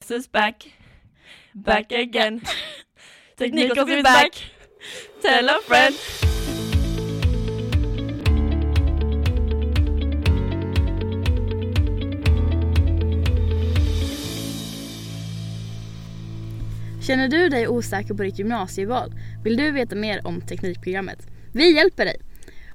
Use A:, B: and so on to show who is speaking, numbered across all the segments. A: Technicos is back. Back again. Technicos
B: Technicos
A: is
B: is
A: back. Tell a friend.
B: Känner du dig osäker på ditt gymnasieval? Vill du veta mer om Teknikprogrammet? Vi hjälper dig!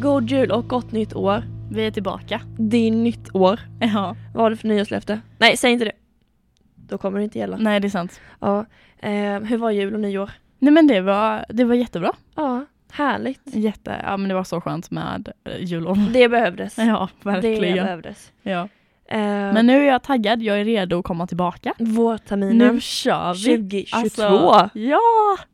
A: God jul och gott nytt år.
B: Vi är tillbaka.
A: Det är nytt år.
B: Ja.
A: Vad har du för nyårslöfte? Nej, säg inte det. Då kommer det inte gälla.
B: Nej, det är sant.
A: Ja. Eh, hur var jul och nyår?
B: Nej men det var, det var jättebra.
A: Ja, härligt.
B: Jätte, ja men det var så skönt med eh, jullov.
A: Det behövdes.
B: Ja,
A: Det
B: verkligen.
A: behövdes.
B: Ja.
A: Eh,
B: Men nu är jag taggad, jag är redo att komma tillbaka.
A: vårterminen
B: Nu kör vi!
A: 2022.
B: Alltså, ja!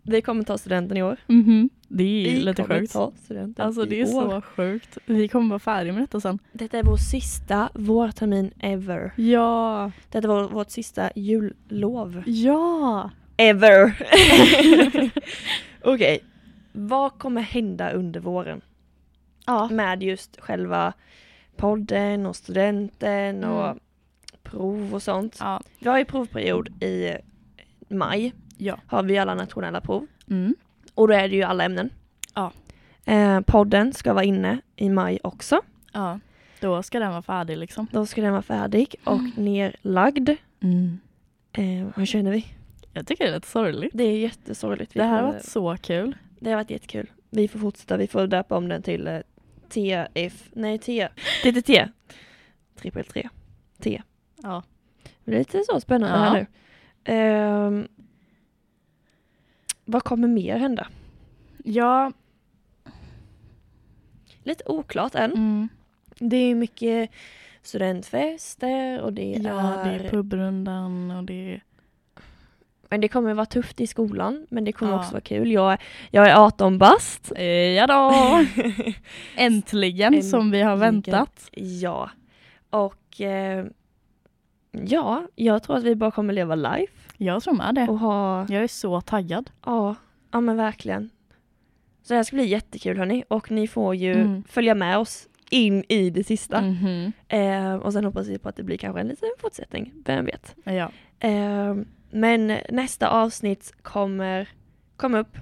A: Vi kommer ta studenten i år.
B: Mhm. Det är
A: Vi
B: lite
A: kommer
B: sjukt.
A: ta studenten
B: Alltså det är
A: i år.
B: så sjukt. Vi kommer vara färdiga med detta sen.
A: Detta är vår sista vårtermin ever.
B: Ja!
A: Detta var vårt sista jullov.
B: Ja!
A: Ever! Okej. Vad kommer hända under våren?
B: Ja.
A: Med just själva podden och studenten och
B: Mm.
A: prov och sånt.
B: Ja.
A: Vi har ju provperiod i maj.
B: Ja.
A: Har vi alla nationella prov.
B: Mm.
A: Och då är det ju alla ämnen.
B: Ja.
A: Eh, podden ska vara inne i maj också.
B: ja. Då ska den vara färdig liksom.
A: Då ska den vara färdig och nerlagd.
B: Mm.
A: Eh, hur känner vi?
B: Jag tycker det är lite sorgligt.
A: Det är jättesorgligt. Vi
B: Det här har
A: kommer-
B: varit så kul.
A: det har varit jättekul. Vi får fortsätta. Vi får döpa om den till eh, TF... Nej, T... TTT. Trippel 3. T.
B: Ja.
A: Det är lite så spännande här
B: Ja.
A: nu. Ehm, vad kommer mer hända?
B: Ja.
A: Lite oklart än.
B: Mm.
A: Det är mycket studentfester och det
B: Ja,
A: är...
B: det är pubrundan och det är...
A: Men det kommer vara tufft i skolan, men det kommer
B: Ja.
A: också vara kul. Jag, är- jag är 18 bast.
B: Ja då! Äntligen som vi har
A: Äntligen.
B: väntat.
A: Ja. Och eh, ja, jag tror att vi bara kommer leva life
B: Jag tror med det.
A: och ha,
B: Jag är så taggad.
A: ja, ja men verkligen. Så det här ska bli jättekul hörni och ni får ju
B: Mm.
A: följa med oss in i det sista.
B: Mhm.
A: Eh, och sen hoppas vi på att det blir kanske en liten fortsättning, vem vet.
B: Ja.
A: Eh, men nästa avsnitt kommer komma upp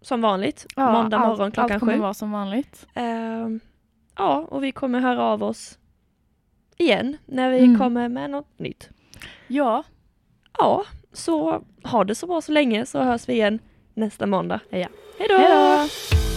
A: som vanligt,
B: Ja,
A: måndag
B: allt-
A: morgon klockan
B: Allt kommer
A: sju.
B: vara som vanligt.
A: Ehm, ja, och vi kommer höra av oss igen när vi
B: Mm.
A: kommer med något nytt.
B: Ja.
A: Ja, så ha det så bra så länge så hörs vi igen nästa måndag.
B: Ja.
A: Hej då!
B: Hej då!